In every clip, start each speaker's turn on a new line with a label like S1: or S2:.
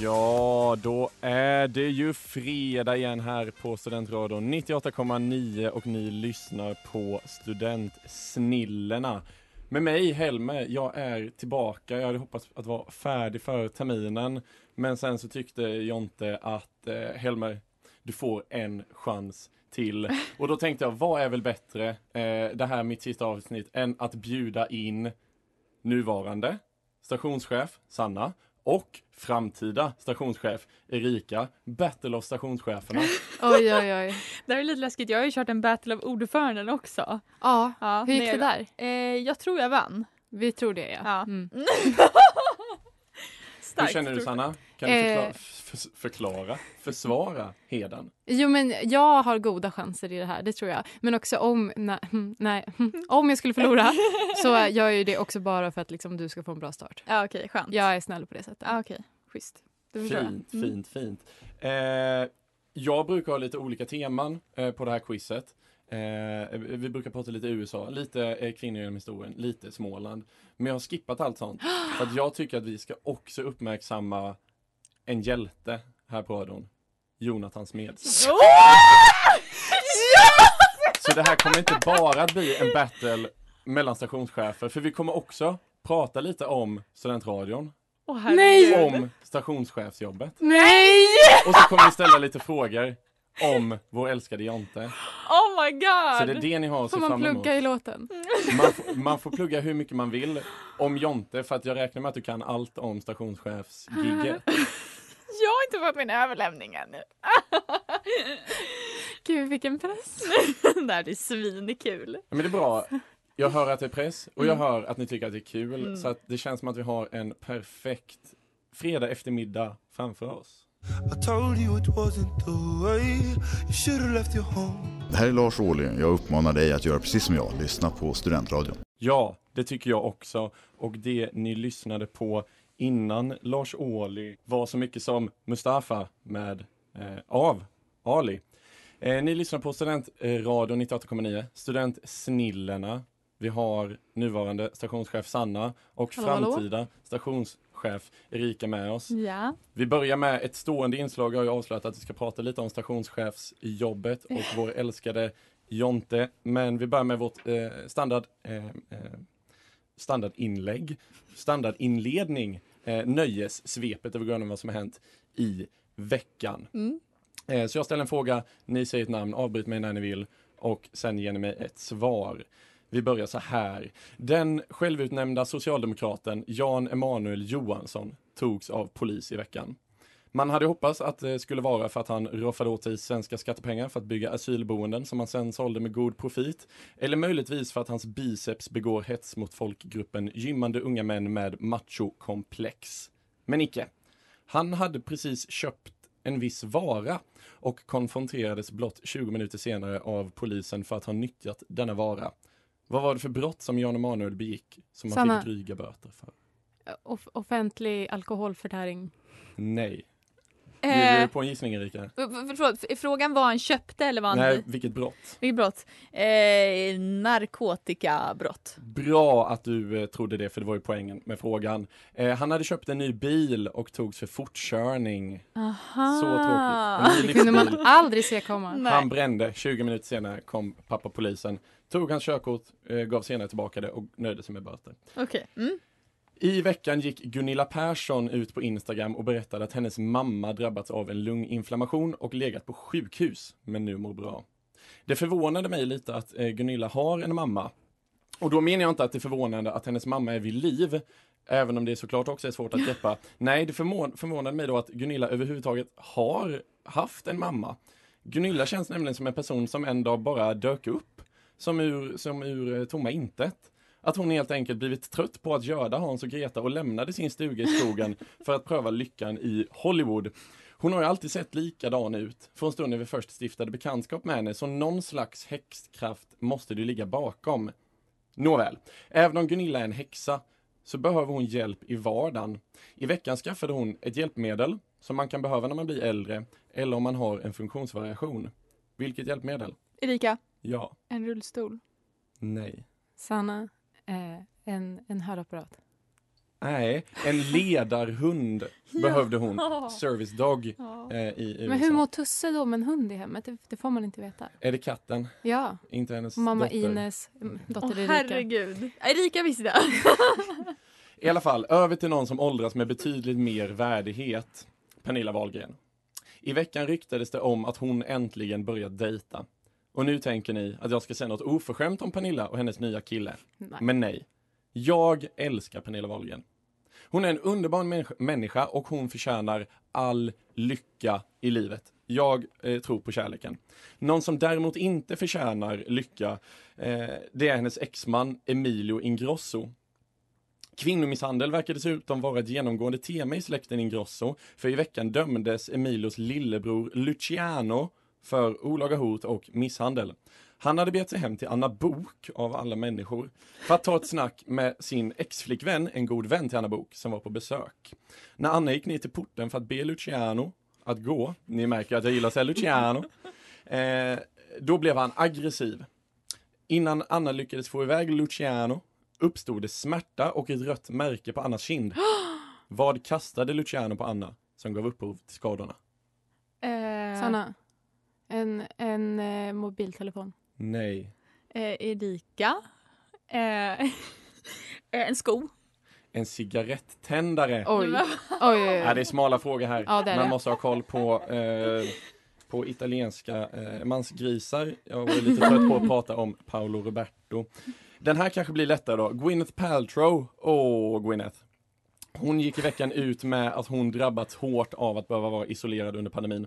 S1: Ja, då är det ju fredag igen här på Studentradion 98,9 och ni lyssnar på Studentsnillena. Med mig Helmer, jag är tillbaka. Jag hade hoppats att vara färdig för terminen, men sen så tyckte Jonte att eh, Helmer, du får en chans till. Och då tänkte jag, vad är väl bättre, eh, det här mitt sista avsnitt, än att bjuda in nuvarande stationschef Sanna och framtida stationschef Erika, Battle of stationscheferna.
S2: Oj, oj, oj.
S3: Det här är lite läskigt. Jag har ju kört en battle of ordföranden också.
S2: Ja,
S3: Ja,
S2: hur gick
S3: nej
S2: det
S3: då.
S2: där?
S3: Eh, jag tror jag vann.
S2: Vi tror det, ja.
S3: Ja.
S2: Mm.
S1: Hur
S3: Starkt.
S1: känner du
S3: tror jag.
S1: Sanna? Kan du förklara,
S2: Eh.
S1: f- f- förklara försvara heden?
S2: Jo, men jag har goda chanser i det här, det tror jag. Men också om, nej, hm, nej, om jag skulle förlora så gör
S3: eh,
S2: jag ju det också bara för att liksom, du ska få en bra start.
S3: Ja, okej, skönt.
S2: Jag är snäll på det sättet.
S3: Ja, okej. Schysst.
S2: Det förstår jag.
S3: Mm.
S1: Fint, fint, fint. Eh, jag brukar ha lite olika teman eh, på det här quizet. Eh, vi brukar prata lite USA, lite eh, kvinnor genom historien, lite Småland. Men jag har skippat allt sånt. För att jag tycker att vi ska också uppmärksamma en hjälte här på radion. Jonathan Smeds. Så det här kommer inte bara att bli en battle mellan stationschefer, för vi kommer också prata lite om studentradion,
S3: Åh,
S2: herregud.
S3: herregud.
S1: om stationschefsjobbet
S2: Nej!
S1: och så kommer vi ställa lite frågor om vår älskade Jonte.
S3: Oh my
S1: Så
S3: god!
S1: det är det ni har att se
S2: Får man
S1: fram emot.
S2: plugga i låten?
S1: Man, f- man får plugga hur mycket man vill om Jonte, för att jag räknar med att du kan allt om stationschefsgigget.
S3: Jag har inte fått min överlämning ännu.
S2: Gud, vilken press.
S3: det här är svinkul.
S1: Men det är bra. Jag hör att det är press och
S2: Mm.
S1: jag hör att ni tycker att det är kul, så att det känns som att vi har en perfekt fredag eftermiddag framför oss.
S4: Det här är Lars Ohly. Jag uppmanar dig att göra precis som jag, lyssna på Studentradion.
S1: Ja, det tycker jag också. Och det ni lyssnade på innan Lars Ohly var så mycket som Mustafa med eh, av Ali. Eh, ni lyssnar på Studentradion 98,9, Studentsnillena. Vi har nuvarande stationschef Sanna och
S2: Hallå, hallå.
S1: framtida stationschef Erika med oss.
S3: Ja.
S1: Vi börjar med ett stående inslag. Jag har ju avslöjat att vi ska prata lite om stationschefsjobbet och vår älskade Jonte. Men vi börjar med vårt eh, standard, eh, eh, standardinlägg, standardinledning, eh, nöjessvepet där vi går igenom vad som har hänt i veckan.
S3: Mm.
S1: Eh, så jag ställer en fråga, ni säger ett namn, avbryt mig när ni vill och sen ger ni mig ett svar. Vi börjar så här. Den självutnämnda socialdemokraten Jan Emanuel Johansson togs av polis i veckan. Man hade hoppats att det skulle vara för att han roffade åt sig svenska skattepengar för att bygga asylboenden som han sen sålde med god profit. Eller möjligtvis för att hans biceps begår hets mot folkgruppen gymmande unga män med machokomplex. Men icke. Han hade precis köpt en viss vara och konfronterades blott 20 minuter senare av polisen för att ha nyttjat denna vara. Vad var det för brott som Jan Emanuel begick som han
S2: Sanna.
S1: fick dryga böter för?
S2: Off- offentlig alkoholförtäring.
S1: Nej. Ger
S3: Eh,
S1: du på en gissning Erika?
S3: f- f- förlåt, f- frågan var han köpte eller var han...
S1: Nej, vilket brott?
S3: Vilket brott? Eh, narkotikabrott.
S1: Bra att du eh, trodde det, för det var ju poängen med frågan. Eh, han hade köpt en ny bil och togs för fortkörning.
S3: Aha.
S1: Så tråkigt. En ny
S2: Ah, Det kunde
S1: livsstil.
S2: man aldrig se komma.
S3: Nej.
S1: Han brände, 20 minuter senare kom pappa polisen, tog hans körkort, eh, gav senare tillbaka det och nöjde sig med böter.
S3: Okej. Mm.
S1: I veckan gick Gunilla Persson ut på Instagram och berättade att hennes mamma drabbats av en lunginflammation och legat på sjukhus, men nu mår bra. Det förvånade mig lite att eh, Gunilla har en mamma. Och då menar jag inte att det är förvånande att hennes mamma är vid liv, även om det såklart också är svårt att greppa. Nej, det förmå- förvånade mig då att Gunilla överhuvudtaget har haft en mamma. Gunilla känns nämligen som en person som en dag bara dök upp, som ur, som ur eh, tomma intet. Att hon helt enkelt blivit trött på att göda Hans och Greta och lämnade sin stuga i skogen för att pröva lyckan i Hollywood. Hon har ju alltid sett likadan ut från stunden vi först stiftade bekantskap med henne, så någon slags häxkraft måste det ju ligga bakom. Nåväl, även om Gunilla är en häxa så behöver hon hjälp i vardagen. I veckan skaffade hon ett hjälpmedel som man kan behöva när man blir äldre eller om man har en funktionsvariation. Vilket hjälpmedel?
S3: Erika,
S1: Ja.
S3: en rullstol.
S1: Nej.
S2: Sanna, eh, en, en hörapparat.
S1: Nej, en ledarhund behövde hon. Service dog
S3: Ja.
S1: eh, i USA.
S2: Men hur mår Tusse då med en hund i hemmet? Det, det får man inte veta.
S1: Är det katten?
S2: Ja,
S1: Inte hennes
S2: mamma
S1: dotter.
S2: Ines mm, dotter
S3: Åh
S2: Erika.
S3: herregud. Erika visste det.
S1: I alla fall, över till någon som åldras med betydligt mer värdighet. Pernilla Wahlgren. I veckan ryktades det om att hon äntligen börjat dejta. Och nu tänker ni att jag ska säga något oförskämt om Pernilla och hennes nya kille.
S2: Nej.
S1: Men nej. Jag älskar Pernilla Wahlgren. Hon är en underbar människa- människa och hon förtjänar all lycka i livet. Jag eh, tror på kärleken. Någon som däremot inte förtjänar lycka, eh, det är hennes exman Emilio Ingrosso. Kvinnomisshandel verkar dessutom vara ett genomgående tema i släkten Ingrosso, för i veckan dömdes Emilios lillebror Luciano för olaga hot och misshandel. Han hade begett sig hem till Anna Bok av alla människor, för att ta ett snack med sin exflickvän, en god vän till Anna Bok som var på besök. När Anna gick ner till porten för att be Luciano att gå, ni märker att jag gillar att säga Luciano, eh, då blev han aggressiv. Innan Anna lyckades få iväg Luciano uppstod det smärta och ett rött märke på Annas kind. Vad kastade Luciano på Anna som gav upphov till skadorna?
S3: Eh,
S2: Sanna, en, en eh, mobiltelefon.
S1: Nej.
S3: Eh, Erika. Eh, eh, en sko.
S1: En cigarettändare.
S2: Oj, oj, oj.
S1: Ja,
S2: oj.
S1: det är smala frågor här.
S2: Ja, det är
S1: Man
S2: det.
S1: måste ha koll på, eh, på italienska eh, mansgrisar. Jag var lite trött på att prata om Paolo Roberto. Den här kanske blir lättare då. Gwyneth Paltrow. Åh, Gwyneth. Hon gick i veckan ut med att hon drabbats hårt av att behöva vara isolerad under pandemin.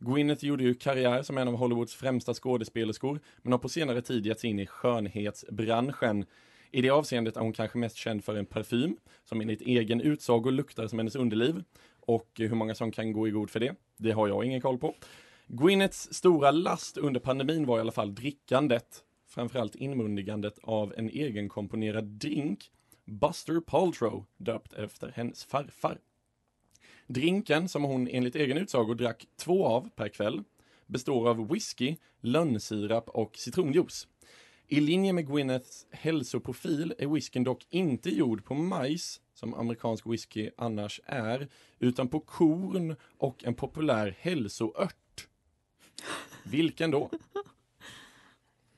S1: Gwyneth gjorde ju karriär som en av Hollywoods främsta skådespelerskor, men har på senare tid gett sig in i skönhetsbranschen. I det avseendet är hon kanske mest känd för en parfym, som enligt egen utsago luktar som hennes underliv. Och hur många som kan gå i god för det, det har jag ingen koll på. Gwyneths stora last under pandemin var i alla fall drickandet, framförallt inmundigandet av en egenkomponerad drink, Buster Paltrow, döpt efter hennes farfar. Drinken, som hon enligt egen utsago drack två av per kväll, består av whisky, lönnsirap och citronjuice. I linje med Gwyneths hälsoprofil är whiskyn dock inte gjord på majs, som amerikansk whisky annars är, utan på korn och en populär hälsoört. Vilken då?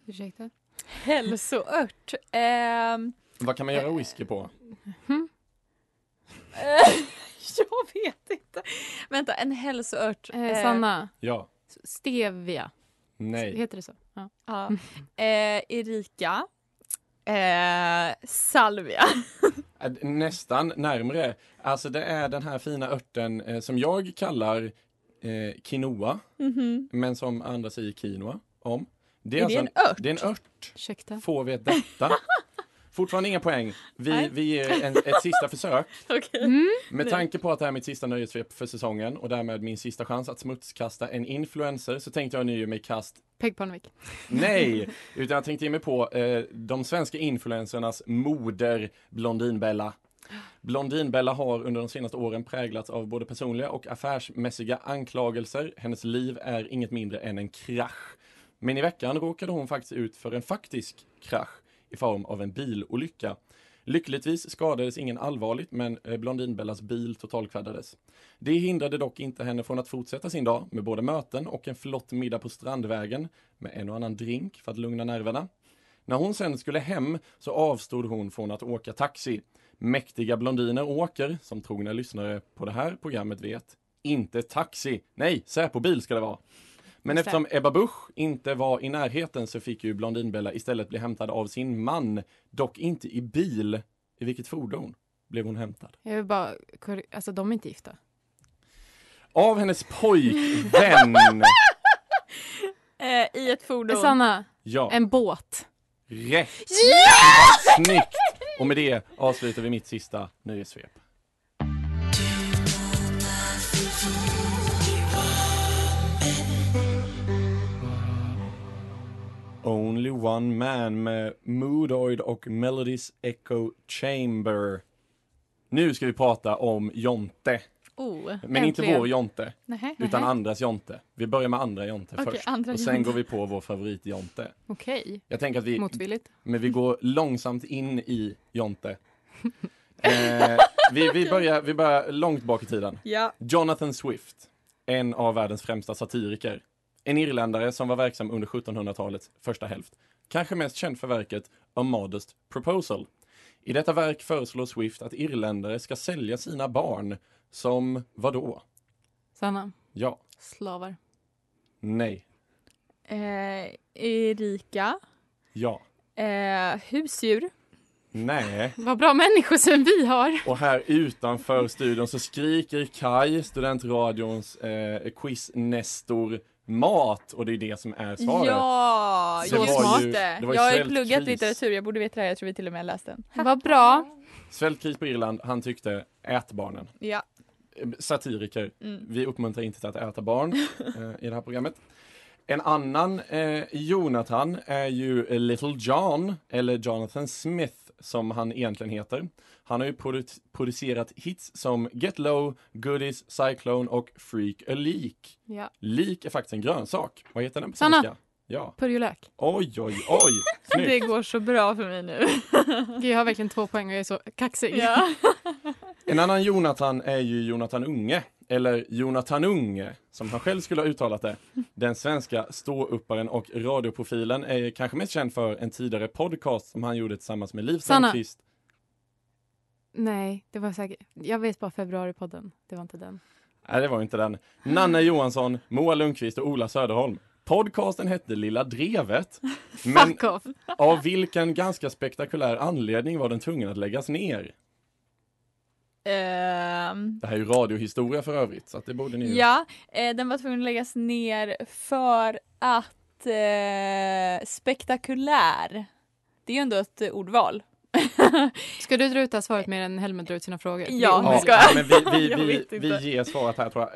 S2: Ursäkta?
S3: Hälsoört. Ehm,
S1: Vad kan man göra whisky på?
S3: eh, jag vet inte. Vänta, en hälsoört.
S2: Eh, Sanna,
S1: Ja,
S2: stevia.
S1: nej,
S2: Heter det så? Ja.
S3: Ja. Eh, Erika. Eh, salvia.
S1: Äh, nästan närmre. Alltså det är den här fina örten eh, som jag kallar eh, quinoa, men som andra säger quinoa om. Det
S3: Är Mhm. det en ört?
S1: Det är en ört.
S2: Ursäkta?
S1: Får vi ett detta? Fortfarande inga poäng. Vi,
S3: Nej.
S1: vi ger en, ett sista försök.
S3: Okej.
S1: Med
S3: Nej.
S1: tanke på att det här är mitt sista nöjessvep för säsongen och därmed min sista chans att smutskasta en influencer så tänkte jag nu ge mig i kast
S2: Peg Parnevik.
S1: Nej, utan jag tänkte ge mig på eh, de svenska influencernas moder Blondinbella. Blondinbella har under de senaste åren präglats av både personliga och affärsmässiga anklagelser. Hennes liv är inget mindre än en krasch. Men i veckan råkade hon faktiskt ut för en faktisk krasch i form av en bilolycka. Lyckligtvis skadades ingen allvarligt, men eh, Blondinbellas bil totalkvaddades. Det hindrade dock inte henne från att fortsätta sin dag med både möten och en flott middag på Strandvägen med en och annan drink för att lugna nerverna. När hon sen skulle hem så avstod hon från att åka taxi. Mäktiga blondiner åker, som trogna lyssnare på det här programmet vet, inte taxi. Nej, Säpobil ska det vara. Men
S2: Just det.
S1: eftersom Ebba Busch inte var i närheten så fick ju Blondinbella istället bli hämtad av sin man, dock inte i bil. I vilket fordon blev hon hämtad?
S2: Jag vill bara, korri- alltså de är inte gifta.
S1: Av hennes pojkvän!
S3: Eh, I ett fordon.
S2: Sanna,
S1: Ja,
S2: en båt.
S1: rätt! Snyggt! Och med det avslutar vi mitt sista nöjessvep. Only One Man med Moodoid och Melodies Echo Chamber. Nu ska vi prata om Jonte.
S2: Oh,
S1: Men inte vår Jonte,
S2: Nej,
S1: utan andras Jonte. Vi börjar med andra Jonte
S3: Okej,
S1: först.
S3: andra
S1: och sen
S3: Jonte.
S1: går vi på vår favorit Jonte.
S2: Okej,
S1: Jag tänker att vi
S2: motvilligt.
S1: men vi går långsamt in i Jonte. Eh, vi, vi, börjar, vi börjar långt bak i tiden.
S3: Ja.
S1: Jonathan Swift, en av världens främsta satiriker. En irländare som var verksam under 1700-talets första hälft. Kanske mest känd för verket A Modest Proposal. I detta verk föreslår Swift att irländare ska sälja sina barn som vadå?
S2: Sanna,
S1: Ja,
S2: slavar.
S1: nej,
S3: Eh, Erika.
S1: ja,
S3: Eh, husdjur.
S1: nej.
S2: Vad bra människosyn vi har.
S1: Och här utanför studion så skriker Kai, studentradions eh, quiz-nestor, mat. Och det är det som är svaret.
S3: Ja,
S1: Det
S3: just
S2: var
S3: det.
S1: ju- det var ju
S3: jag har ju
S1: svältkris.
S3: pluggat litteratur, jag borde veta det här. Jag tror vi till och med läste den.
S2: Vad bra.
S1: Svältkris på Irland, han tyckte ät barnen.
S3: Ja.
S1: Eh, Satiriker,
S3: Mm.
S1: vi uppmuntrar inte till att äta barn eh, i det här programmet. En annan eh, Jonathan är ju eh, Little John, eller Jonathan Smith som han egentligen heter. Han har ju produ- producerat hits som Get Low, Goodies, Cyclone och Freak a Leak.
S2: Ja.
S1: Lik är faktiskt en grönsak. Vad heter den på
S2: Sanna.
S1: svenska? Ja.
S2: Purjolök.
S1: Oj, oj, oj. Snyggt.
S3: Det går så bra för mig nu.
S2: Gud, jag har verkligen två poäng och jag är så kaxig.
S3: Ja.
S1: En annan Jonathan är ju Jonathan Unge, eller Jonathan Unge, som han själv skulle ha uttalat det. Den svenska ståupparen och radioprofilen är kanske mest känd för en tidigare podcast som han gjorde tillsammans med Liv
S2: Sanna.
S1: Strömquist.
S2: Nej, det var säkert. Jag vet bara februaripodden. Det var inte den.
S1: Nej, det var ju inte den. Nanna Johansson, Moa Lundqvist och Ola Söderholm. Podcasten hette Lilla Drevet, men
S2: Fuck off.
S1: av vilken ganska spektakulär anledning var den tvungen att läggas ner?
S3: Ehm,
S1: Det här är ju radiohistoria för övrigt, så att det borde ni ju-
S3: ja, eh, den var tvungen att läggas ner för att eh, spektakulär. Det är ju ändå ett eh, ordval.
S2: Ska du dra ut det här svaret mer än Helmer drar ut sina frågor? Det är
S3: Ja,
S2: omöjligt.
S3: ska jag?
S1: men vi, vi,
S3: Jag
S1: vi,
S3: vet inte.
S1: vi ger svaret här tror jag.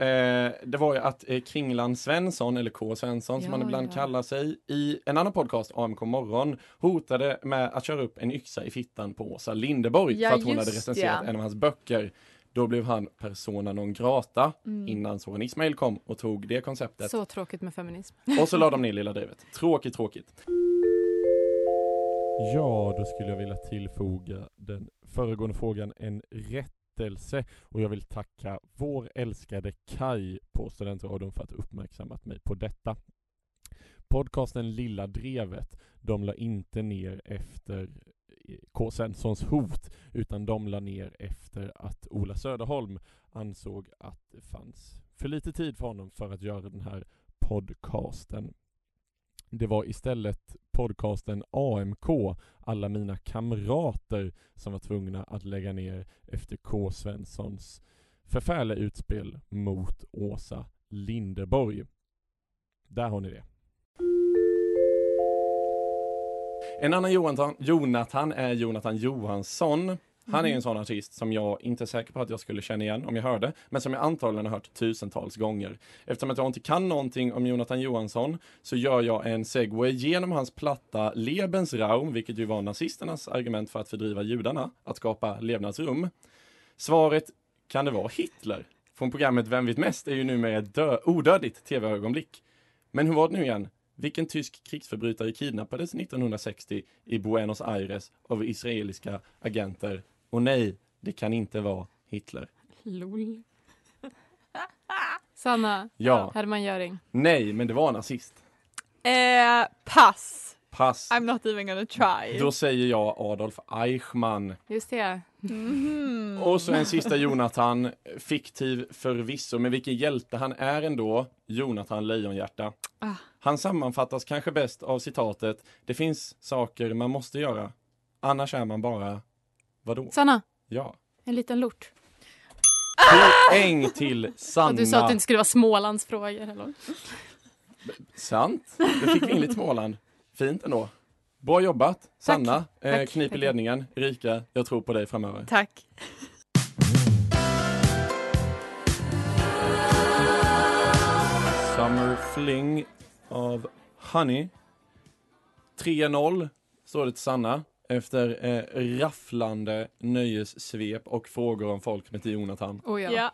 S1: Eh, det var ju att eh, Kringland Svensson, eller K Svensson som
S2: Ja,
S1: han ibland
S2: ja.
S1: kallar sig, i en annan podcast, AMK morgon, hotade med att köra upp en yxa i fittan på Åsa Linderborg
S3: Ja,
S1: för att hon
S3: just
S1: hade recenserat
S3: ja.
S1: en av hans böcker. Då blev han persona non grata
S3: Mm.
S1: innan Soran Ismail kom och tog det konceptet.
S2: Så tråkigt med feminism.
S1: Och så la de ner Lilla Drevet. Tråkigt, tråkigt. Ja, då skulle jag vilja tillfoga den föregående frågan en rättelse och jag vill tacka vår älskade Kai på Studentradion för att ha uppmärksammat mig på detta. Podcasten Lilla Drevet, de la inte ner efter eh, K. Svenssons hot, utan de la ner efter att Ola Söderholm ansåg att det fanns för lite tid för honom för att göra den här podcasten. Det var istället podcasten AMK, alla mina kamrater, som var tvungna att lägga ner efter K. Svenssons förfärliga utspel mot Åsa Linderborg. Där har ni det. En annan Jonathan, Jonathan är Jonathan Johansson. Han är en sån artist som jag inte är säker på att jag skulle känna igen om jag hörde, men som jag antagligen har hört tusentals gånger. Eftersom att jag inte kan någonting om Jonathan Johansson så gör jag en segway genom hans platta Lebensraum, vilket ju var nazisternas argument för att fördriva judarna, att skapa levnadsrum. Svaret, kan det vara Hitler? Från programmet Vem vet mest är ju numera ett dö- odödligt tv-ögonblick. Men hur var det nu igen? Vilken tysk krigsförbrytare kidnappades 1960 i Buenos Aires av israeliska agenter? Och nej, det kan inte vara Hitler.
S2: Lol. Sanna,
S1: Ja,
S2: Hermann Göring.
S1: nej, men det var en nazist.
S3: Eh, pass.
S1: Pass.
S3: I'm not even gonna try.
S1: Då säger jag Adolf Eichmann.
S2: Just det. Mm.
S3: Mhm.
S1: Och så en sista Jonathan, fiktiv förvisso, men vilken hjälte han är ändå, Jonathan Lejonhjärta.
S2: Ah.
S1: Han sammanfattas kanske bäst av citatet Det finns saker man måste göra, annars är man bara, vadå?
S2: Sanna,
S1: Ja.
S2: en liten lort.
S1: Poäng till Sanna.
S2: Och Ah! du sa att det inte skulle vara Smålandsfrågor. Eller? något.
S1: Sant. Då fick vi in lite Småland. Fint ändå. Bra jobbat, Sanna. Eh,
S2: Tack.
S1: kniper ledningen. Rika, jag tror på dig framöver.
S3: Tack.
S1: Summer Fling av Honey. 3-0 står det till Sanna efter eh, rafflande nöjessvep och frågor om folk med till Jonathan.
S2: Oh, ja.
S3: Ja.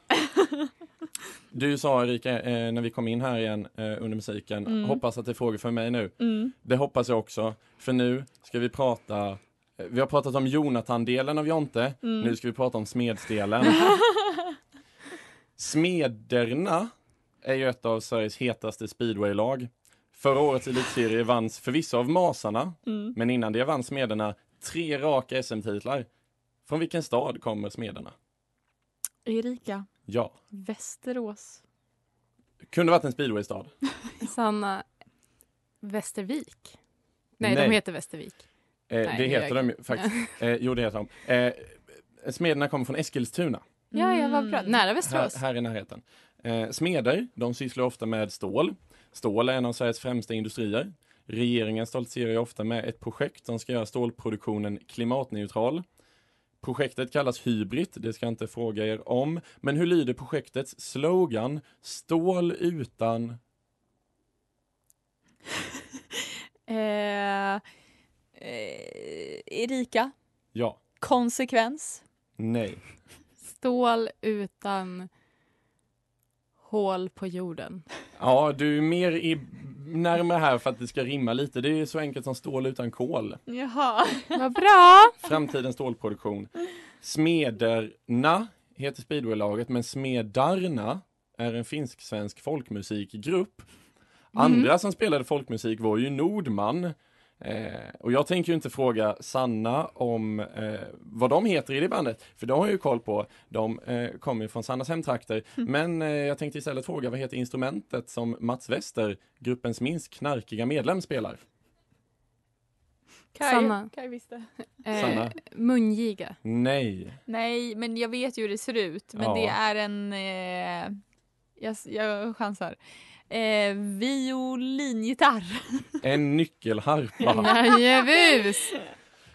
S1: Du sa Erika eh, när vi kom in här igen eh, under musiken,
S3: Mm.
S1: hoppas att det är frågor för mig nu.
S3: Mm.
S1: Det hoppas jag också, för nu ska vi prata eh, vi har pratat om Jonathan-delen av Jonte,
S3: Mm.
S1: nu ska vi prata om smedsdelen. Smederna är ju ett av Sveriges hetaste speedwaylag. Förra årets elitserie vanns förvisso av Masarna,
S3: Mm.
S1: men innan det vann Smederna tre raka SM-titlar. Från vilken stad kommer Smederna?
S3: Erika.
S1: Ja,
S3: Västerås.
S1: kunde varit en speedwaystad. Eh,
S2: Sanna Västervik. Nej,
S1: Nej.
S2: de heter Västervik.
S1: Eh,
S2: Nej,
S1: det
S2: det
S1: heter
S2: gör
S1: de ju faktiskt. Eh, jo, det heter de. Eh, smederna kommer från Eskilstuna,
S2: Ja, ja, vad bra.
S3: Mm.
S2: Nära
S1: här,
S2: Västerås.
S1: här i närheten. Eh, smeder, de sysslar ofta med stål. Stål är en av Sveriges främsta industrier. Regeringen stoltserar ju ofta med ett projekt som ska göra stålproduktionen klimatneutral. Projektet kallas Hybrid, det ska jag inte fråga er om. Men hur lyder projektets slogan? Stål utan...
S3: Eh, eh, Erika.
S1: Ja.
S3: Konsekvens.
S1: Nej.
S2: Stål utan hål på jorden.
S1: Ja, du är mer i, närmare här för att det ska rimma lite. Det är så enkelt som stål utan kol.
S3: Jaha.
S2: Vad bra!
S1: Framtidens stålproduktion. Smederna heter speedwaylaget, men Smedarna är en finsk-svensk folkmusikgrupp.
S2: Mhm.
S1: Andra som spelade folkmusik var ju Nordman. Eh, och jag tänker ju inte fråga Sanna om eh, vad de heter i det bandet, för de har jag ju koll på. De eh, kommer ju från Sannas hemtrakter. Men eh, jag tänkte istället fråga vad heter instrumentet som Mats Wester, gruppens minst knarkiga medlem, spelar?
S3: Kaj,
S2: Sanna.
S3: Kaj visste.
S1: Sanna?
S2: Eh, mungiga.
S1: Nej.
S3: Nej, men jag vet ju hur det ser ut. Men
S1: Ja.
S3: det är en... Eh, jag, jag chansar. Eh, violingitarr.
S1: En nyckelharpa.
S2: Jajavus!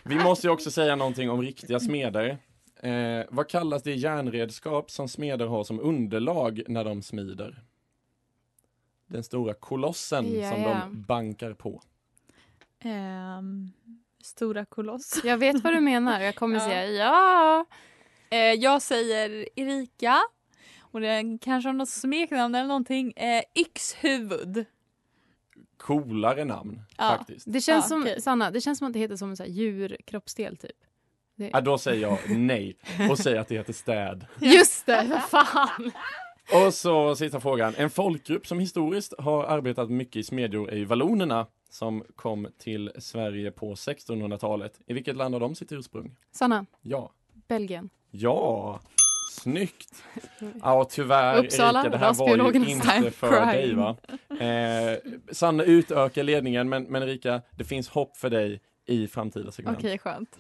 S1: Vi måste ju också säga någonting om riktiga smeder. Eh, vad kallas det järnredskap som smeder har som underlag när de smider? Den stora kolossen
S2: Ja,
S1: som
S2: ja.
S1: de bankar på.
S3: Ehm, stora koloss.
S2: Jag vet vad du menar jag kommer
S3: Ja.
S2: säga ja.
S3: Eh, jag säger Erika. Och det är kanske har något smeknamn eller någonting. Eh, yxhuvud.
S1: Coolare namn
S3: Ja.
S1: faktiskt.
S2: Det känns
S3: Ja,
S2: som,
S3: okej.
S2: Sanna, det känns som att det heter som en så här djurkroppsdel typ.
S1: Ja, då säger jag nej och säger att det heter städ.
S2: Just det, för fan!
S1: Och så sista frågan. En folkgrupp som historiskt har arbetat mycket i smedjor är ju vallonerna som kom till Sverige på 1600-talet. I vilket land har de sitt ursprung?
S2: Sanna,
S1: Ja.
S2: Belgien.
S1: Ja, snyggt! Ja, och tyvärr
S2: Uppsala,
S1: Erika, det här var ju
S2: rasbiologernas
S1: inte
S2: time
S1: för
S2: prime.
S1: dig va? Eh, Sanna utökar ledningen, men, men Erika, det finns hopp för dig i framtida segment.
S3: Okej, skönt.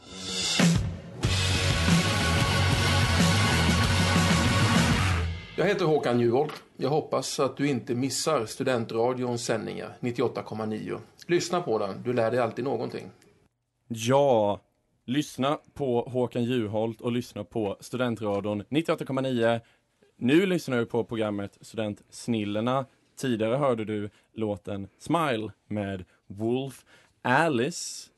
S5: Jag heter Håkan Juholt. Jag hoppas att du inte missar Studentradions sändningar 98,9. Lyssna på den, du lär dig alltid någonting.
S1: Ja, lyssna på Håkan Juholt och lyssna på Studentradion 98,9. Nu lyssnar du på programmet Studentsnillena. Tidigare hörde du låten Smile med Wolf Alice.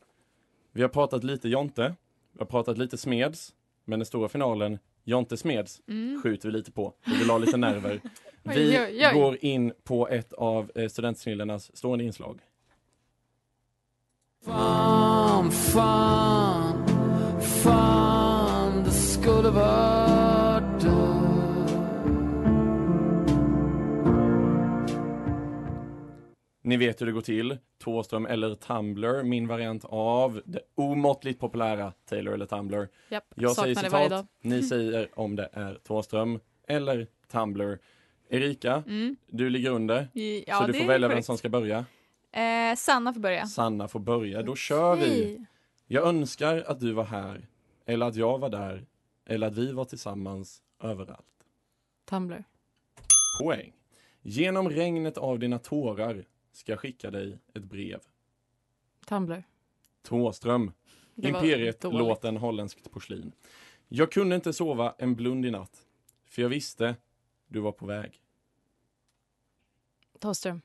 S1: Vi har pratat lite Jonte, vi har pratat lite Smeds, men den stora finalen Jonte Smeds
S3: Mm.
S1: skjuter vi lite på. Vi vill ha lite nerver. Vi
S2: Oj, oj, oj.
S1: går in på ett av eh, Studentsnillenas stående inslag.
S6: Farm, farm, farm, the school of order.
S1: Ni vet hur det går till. Thåström eller Tumblr, min variant av det omåttligt populära Taylor eller Tumblr.
S2: Japp,
S1: Jag
S2: saknar
S1: säger
S2: det varje
S1: citat,
S2: dag.
S1: ni säger om det är Thåström eller Tumblr. Erika,
S3: Mm.
S1: du ligger under,
S3: I- Ja,
S1: så du
S3: det
S1: får
S3: är
S1: välja vem
S3: korrekt.
S1: som ska börja.
S3: Eh, Sanna får börja.
S1: Sanna får börja, då kör vi.
S2: Hej.
S1: Jag önskar att du var här, eller att jag var där, eller att vi var tillsammans överallt.
S2: Tumblr.
S1: Poäng. Genom regnet av dina tårar ska jag skicka dig ett brev.
S2: Tumblr.
S1: Thåström,
S2: Det var dåligt.
S1: Imperiet-låten Holländskt porslin. Jag kunde inte sova en blund i natt, för jag visste du var på väg.
S2: Thåström.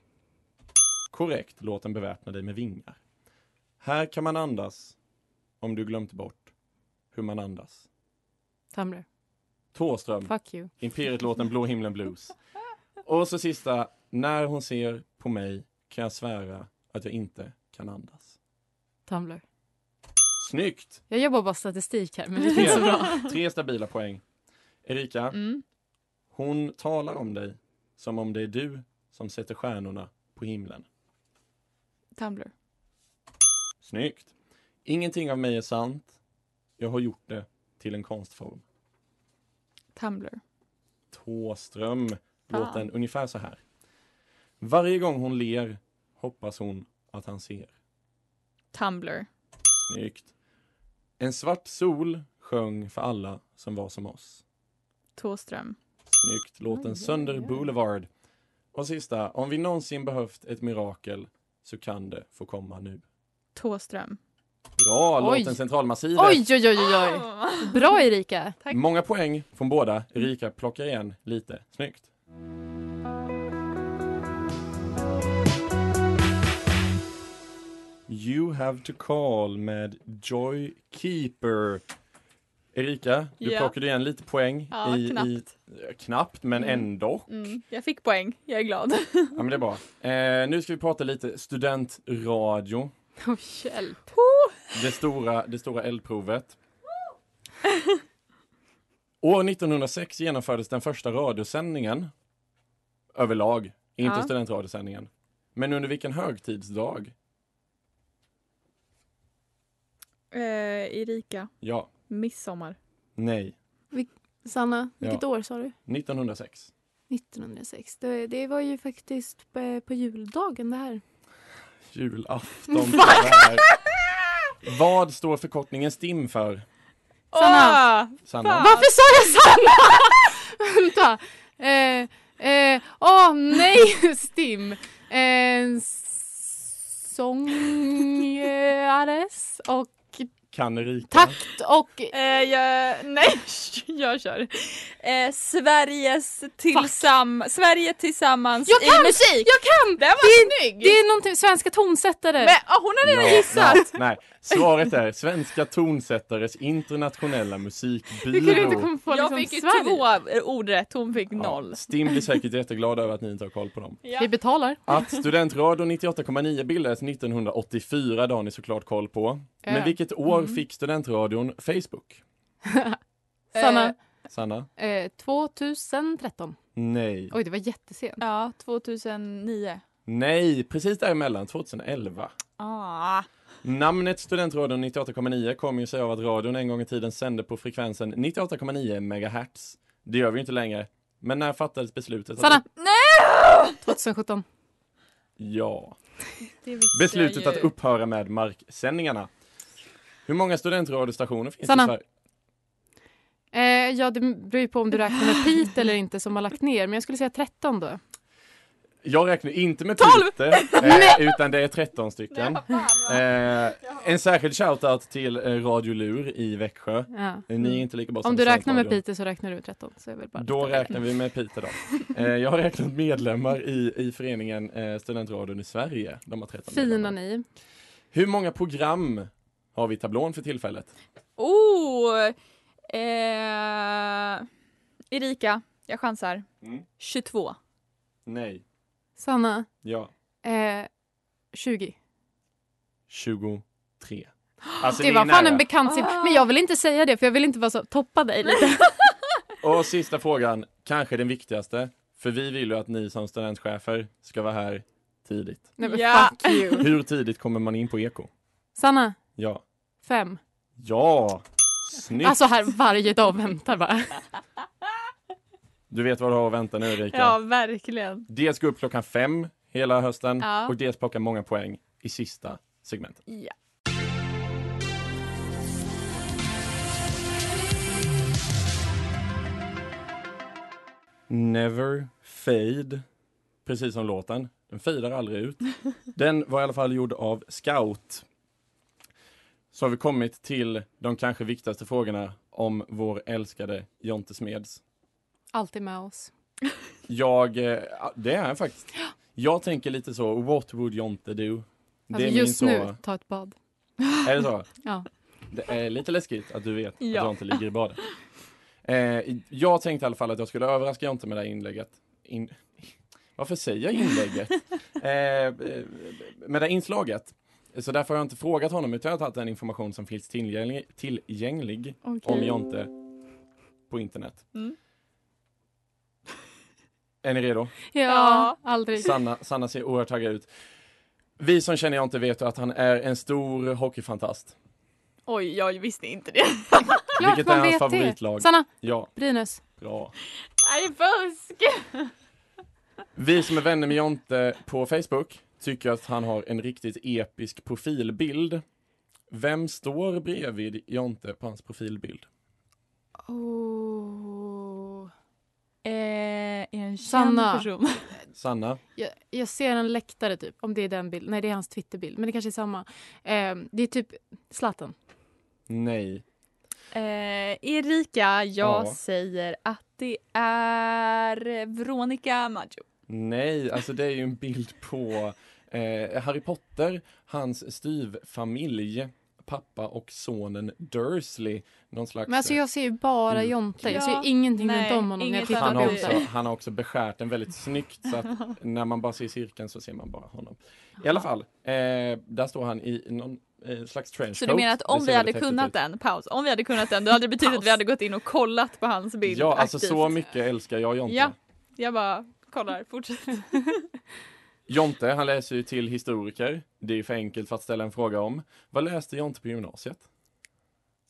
S1: Korrekt, låten beväpnar dig med vingar. Här kan man andas, om du glömt bort hur man andas.
S2: Tumblr.
S1: Thåström,
S2: Fuck you.
S1: Imperiet-låten Blå himlen blues. Och så sista, när hon ser på mig kan jag svära att jag inte kan andas.
S2: Tumblr.
S1: Snyggt!
S2: Jag jobbar bara statistik här, men det är inte så bra.
S1: Tre stabila poäng. Erika,
S3: Mm.
S1: hon talar om dig som om det är du som sätter stjärnorna på himlen.
S3: Tumblr.
S1: Snyggt. Ingenting av mig är sant. Jag har gjort det till en konstform.
S3: Tumblr.
S1: Tåström låten
S2: Ah.
S3: Fan.
S1: ungefär så här. Varje gång hon ler hoppas hon att han ser.
S3: Tumblr.
S1: Snyggt. En svart sol sjöng för alla som var som oss.
S3: Tåström.
S1: Snyggt. Låten
S2: Oj, oj,
S1: Sönder
S2: oj.
S1: Boulevard. Och sista, om vi någonsin behövt ett mirakel så kan det få komma nu.
S3: Tåström.
S1: Bra,
S2: Oj.
S1: låten Centralmassivet.
S2: Oj, oj, oj, oj, oj. Bra, Erika.
S3: Tack.
S1: Många poäng från båda. Erika plockar igen lite. Snyggt. You have to call med Joy Keeper. Erika, du
S3: Ja.
S1: plockade igen lite poäng.
S3: Ja, knappt.
S1: eh, knappt, men
S3: Mm.
S1: ändå.
S3: Mm. Jag fick poäng. Jag är glad.
S1: Ja, men det är bra. Eh, nu ska vi prata lite studentradio.
S2: Oh, hjälp.
S1: Det stora, det stora eldprovet. År 1906 genomfördes den första radiosändningen. Överlag, inte
S3: Ja.
S1: studentradiosändningen. Men under vilken högtidsdag?
S3: eh, Erika.
S1: Ja,
S3: Midsommar.
S1: nej,
S2: Sanna,
S1: Ja.
S2: vilket år sa du?
S1: 1906.
S2: 1906. Det, det var ju faktiskt på, på juldagen det här.
S1: Julafton. tyvärr. Vad står förkortningen STIM för,
S2: Sanna.
S3: Åh!
S1: Sanna?
S3: Fan.
S2: Varför sa jag Sanna? Vänta. Eh, eh, Åh nej, Stim. Eh, sångares och
S1: Kan Erika?
S2: takt och...
S3: Eh, jag, nej, jag kör. Eh, Sveriges tillsam, Sverige tillsammans
S2: Jag kan!
S3: i musik.
S2: Jag kan!
S3: Den var snygg!
S2: Det är någonting, svenska tonsättare.
S3: Men, ah, hon har redan
S1: Ja,
S3: gissat.
S1: Nej, nej, svaret är Svenska tonsättares internationella musikbyrå.
S2: Hur kan du inte komma på
S3: Jag
S2: liksom
S3: fick ju
S2: Sverige?
S3: två ord rätt, hon fick noll.
S1: Ja, Stim blir säkert jätteglad över att ni inte har koll på dem.
S2: Vi betalar.
S1: Att Studentradion 98,9 bildades 1984, det har ni såklart koll på. Men
S2: Ja.
S1: vilket år
S2: Mm.
S1: fick Studentradion Facebook?
S2: Sanna,
S1: Sanna?
S2: eh, 2013.
S1: Nej.
S2: Oj, det var jättesent.
S3: Ja, 2009.
S1: Nej, precis däremellan, 2011.
S3: Ah.
S1: Namnet Studentradion 98,9 kommer ju sig av att radion en gång i tiden sände på frekvensen 98,9 MHz. Det gör vi ju inte längre. Men när fattades beslutet? att-
S2: Sanna! 2017.
S1: Ja. Beslutet att upphöra med marksändningarna. Hur många studentradiostationer finns det i
S2: Sanna.
S1: Sverige?
S2: Eh, ja, det beror ju på om du räknar med Piteå eller inte som har lagt ner, men jag skulle säga 13 då.
S1: Jag räknar inte med
S3: Tolv!
S1: Pite, eh, utan det är 13 stycken. Eh, en särskild shoutout till eh, Radio Lur i Växjö. Eh,
S2: Ja.
S1: Ni är inte lika bra som
S2: Om du räknar med
S1: Studentradion.
S2: Piteå så räknar du med 13. Så jag vill bara
S1: Då räknar vi med Pite då. Eh, jag har räknat medlemmar i, i föreningen eh, Studentradion i Sverige. De har 13
S2: Fina
S1: medlemmar.
S2: ni.
S1: Hur många program har vi i tablån för tillfället?
S3: Oh! Eh, Erika, jag chansar.
S1: Mm.
S3: 22.
S1: Nej.
S2: Sanna,
S1: Ja.
S2: eh, 20.
S1: 23. Alltså,
S2: det
S1: ni
S2: var
S1: är
S2: fan
S1: nära.
S2: en bekant siffra. Men jag vill inte säga det för jag vill inte vara så toppa dig lite.
S1: Och sista frågan, kanske den viktigaste. För vi vill ju att ni som studentchefer ska vara här Tidigt.
S2: Nej, men
S3: Ja.
S2: fuck you.
S1: Hur tidigt kommer man in på eko?
S2: Sanna,
S1: Ja.
S2: fem.
S1: Ja! Snyggt!
S2: Alltså här varje dag väntar bara.
S1: Du vet vad du har att vänta nu Erika.
S3: Ja, verkligen.
S1: Dels gå upp klockan fem hela hösten
S3: Ja.
S1: och dels plocka många poäng i sista segmentet.
S3: Ja.
S1: Never fade, precis som låten. Den fejdar aldrig ut. Den var i alla fall gjord av Scout. Så har vi kommit till de kanske viktigaste frågorna om vår älskade Jonte Smeds.
S2: Alltid med oss.
S1: Jag, eh, det är jag faktiskt. Jag tänker lite så, what would Jonte do?
S2: Alltså,
S1: min
S2: just
S1: så-
S2: nu, ta ett bad.
S1: Är det så?
S2: Ja.
S1: Det är lite läskigt att du vet
S3: Ja.
S1: att Jonte ligger i badet. Eh, jag tänkte i alla fall att jag skulle överraska Jonte med det här inlägget. In... Varför säger jag inlägget? eh, eh, med det här inslaget. Så därför har jag inte frågat honom utan jag har tagit den information som finns tillgänglig, tillgänglig
S3: Okej.
S1: om
S2: Mm.
S1: Jonte på internet.
S3: Mm.
S1: Är ni redo?
S2: Ja,
S3: Ja.
S2: aldrig.
S1: Sanna, Sanna ser oerhört taggad ut. Vi som känner Jonte vet ju att han är en stor hockeyfantast.
S3: Oj, jag visste inte det.
S2: Klart
S1: Vilket
S2: man
S1: är hans
S2: vet
S1: favoritlag?
S2: Det. Sanna,
S1: Ja,
S2: Brynäs.
S1: bra.
S3: Nej, fusk!
S1: Vi som är vänner med Jonte på Facebook tycker att han har en riktigt episk profilbild. Vem står bredvid Jonte på hans profilbild?
S2: Oh.
S3: Eh, en känd
S2: Sanna.
S3: person.
S1: Sanna?
S2: Jag, jag ser en läktare typ, om det är den bilden. Nej, det är hans Twitterbild, men det kanske är samma. Eh, det är typ Zlatan.
S1: Nej.
S3: Eh, Erika, jag
S1: Ja.
S3: säger att det är Veronica Maggio.
S1: Nej, alltså det är ju en bild på eh, Harry Potter, hans styvfamilj, pappa och sonen Dursley. Någon slags...
S2: Men alltså jag ser ju bara
S1: Mm.
S2: Jonte. Jag
S3: Ja,
S2: ser ju ingenting
S3: nej,
S2: runt om honom när jag
S3: inget
S2: tittar
S1: han,
S2: på
S1: har
S3: annat.
S1: också,
S2: Jonte.
S1: han har också beskärt den väldigt snyggt så att när man bara ser cirkeln så ser man bara honom. I alla fall, eh, där står han i någon eh, slags trenchcoat.
S3: Så du menar att
S1: Det
S3: om
S1: ser
S3: vi hade
S1: väldigt häftigt
S3: kunnat
S1: ut.
S3: den, paus, om vi hade kunnat den, då hade det betytt att vi
S2: Paus.
S3: hade gått in och kollat på hans bild
S1: Ja, alltså
S3: aktivt.
S1: så mycket älskar jag Jonte.
S3: Ja. Jag bara kollar, fortsätt.
S1: Jonte, han läser ju till historiker. Det är för enkelt för att ställa en fråga om. Vad läste Jonte på gymnasiet?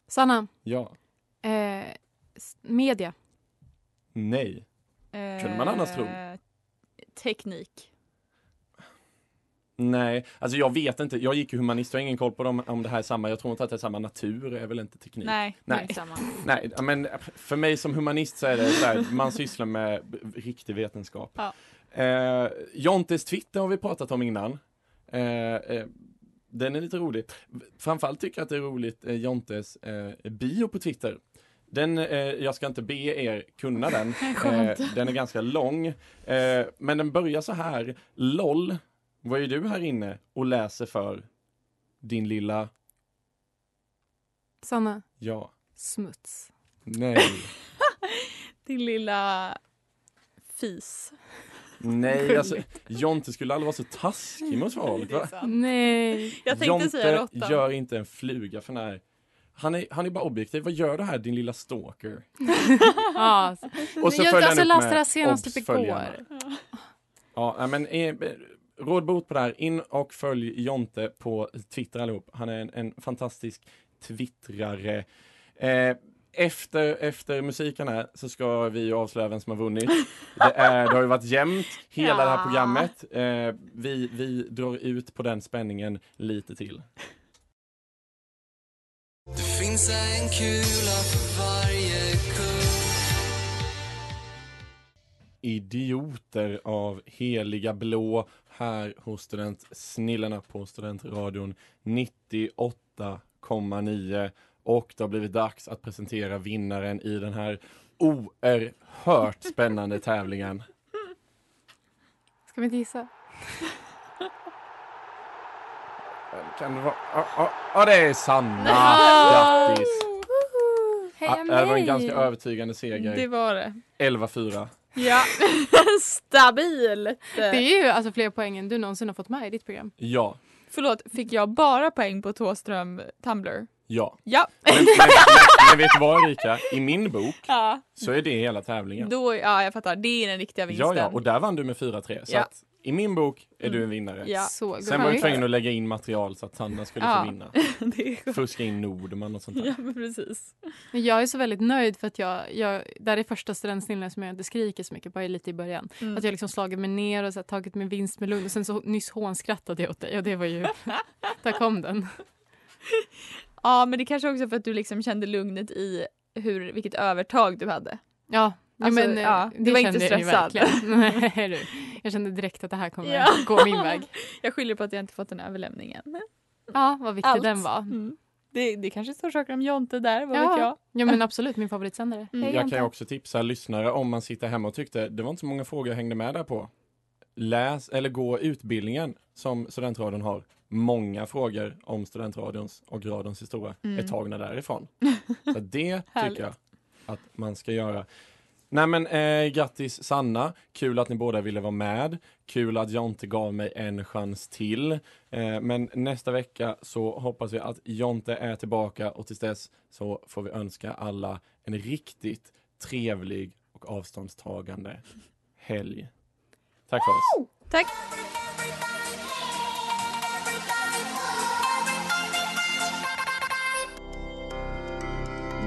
S2: Sanna,
S1: Ja.
S2: eh, s- media.
S1: Nej. Kunde man annars tro?
S3: Eh, Teknik.
S1: Nej, alltså jag vet inte. Jag gick ju humanist och har ingen koll på dem om det här är samma. Jag tror inte att det är samma. Natur är väl inte teknik?
S3: Nej,
S1: Nej.
S3: nej. samma.
S1: Nej, ja, men för mig som humanist så är det så här, man sysslar med b- riktig vetenskap.
S3: Ja.
S1: Eh, Jontes Twitter har vi pratat om innan. Eh, eh, den är lite rolig. Framförallt tycker jag att det är roligt eh, Jontes eh, bio på Twitter. Den, eh, jag ska inte be er kunna den. Eh, den är ganska lång. Eh, men den börjar så här. LOL, vad är du här inne och läser för din lilla,
S2: Sanna,
S1: ja,
S2: smuts.
S1: nej.
S3: Din lilla fis.
S1: Nej, alltså Jonte skulle aldrig vara så taskig mot folk. Va?
S2: Nej.
S3: Jag tänkte
S1: Jonte
S3: säga råtta.
S1: gör inte en fluga för när. Han är, han är bara objektiv. Vad gör du här din lilla stalker?
S2: Ja.
S1: Och så
S2: jag
S1: följer
S2: alltså
S1: han upp
S2: läste det här
S1: med
S2: senast typ
S1: obs-följarna.
S2: igår.
S1: Ja, nej, men eh, råd bot på det här. In och följ Jonte på Twitter allihop. Han är en, en fantastisk twittrare. Eh, efter, efter musiken här så ska vi ju avslöja vem som har vunnit. Det, är, det har ju varit jämnt hela det här
S3: Ja.
S1: programmet. Eh, vi, vi drar ut på den spänningen lite till.
S6: Det finns en kula för varje kull
S1: Idioter av Heliga Blå här hos student Snillena på Studentradion 98,9 och det har blivit dags att presentera vinnaren i den här oerhört spännande tävlingen.
S2: Ska vi inte gissa?
S1: Kan det vara? Ja, ja, ja, det är Sanna! Grattis! Ja,
S2: Heja
S1: Det var en
S2: mig!
S1: ganska övertygande seger.
S3: Det var det.
S1: 11-4.
S3: Ja, stabilt.
S2: Det är ju alltså fler poäng än du någonsin har fått med i ditt program.
S1: Ja,
S3: Förlåt, fick jag bara poäng på Thåström Tumblr?
S1: ja.
S3: Ja.
S1: Men, men, men, men vet du vad Erika? I min bok
S3: ja.
S1: så är det hela tävlingen.
S3: Då, ja, jag fattar. Det är den riktiga vinsten.
S1: Ja, ja, och där vann du med 4-3. Så
S3: Ja.
S1: att I min bok är
S3: Mm.
S1: du en vinnare.
S3: Ja.
S2: Så gulligt.
S1: Sen var jag tvungen att lägga in material så att Sanna skulle
S2: Ja.
S1: få vinna.
S3: det är skönt.
S1: Fuska in Nordman och sånt där.
S3: Ja men precis.
S2: Men jag är så väldigt nöjd för att jag, jag det här är första studentsnillen som jag inte skriker så mycket, bara lite i början.
S3: Mm.
S2: Att jag liksom slagit mig ner och så här, tagit min vinst med lugn och sen så nyss hånskrattade jag åt dig och det var ju, där kom den.
S3: Ja men det kanske också för att du liksom kände lugnet i hur, vilket övertag du hade.
S2: Ja, ja,
S3: Alltså,
S2: men eh,
S3: ja, du var inte
S2: kände jag ju
S3: stressad.
S2: verkligen. Nej, du. Jag kände direkt att det här kommer
S3: Ja.
S2: gå min väg.
S3: Jag skyller på att jag inte fått en överlämning än.
S2: Ja, vad viktig
S3: Allt.
S2: den var.
S3: Mm. Det, det kanske står saker om Jonte där, vad vet jag.
S2: ja, men absolut min favoritsändare.
S3: Mm.
S1: Jag kan ju också tipsa lyssnare om man sitter hemma och tyckte det var inte så många frågor jag hängde med där på. Läs eller gå utbildningen som studentradion har. Många frågor om studentradions och radions historia
S3: Mm.
S1: är tagna därifrån. Så det
S3: Härligt.
S1: tycker jag att man ska göra. Nej men eh, grattis Sanna, kul att ni båda ville vara med. Kul att Jonte gav mig en chans till. Eh, men nästa vecka så hoppas vi att Jonte är tillbaka och tills dess så får vi önska alla en riktigt trevlig och avståndstagande helg. Tack för oss.
S3: Tack.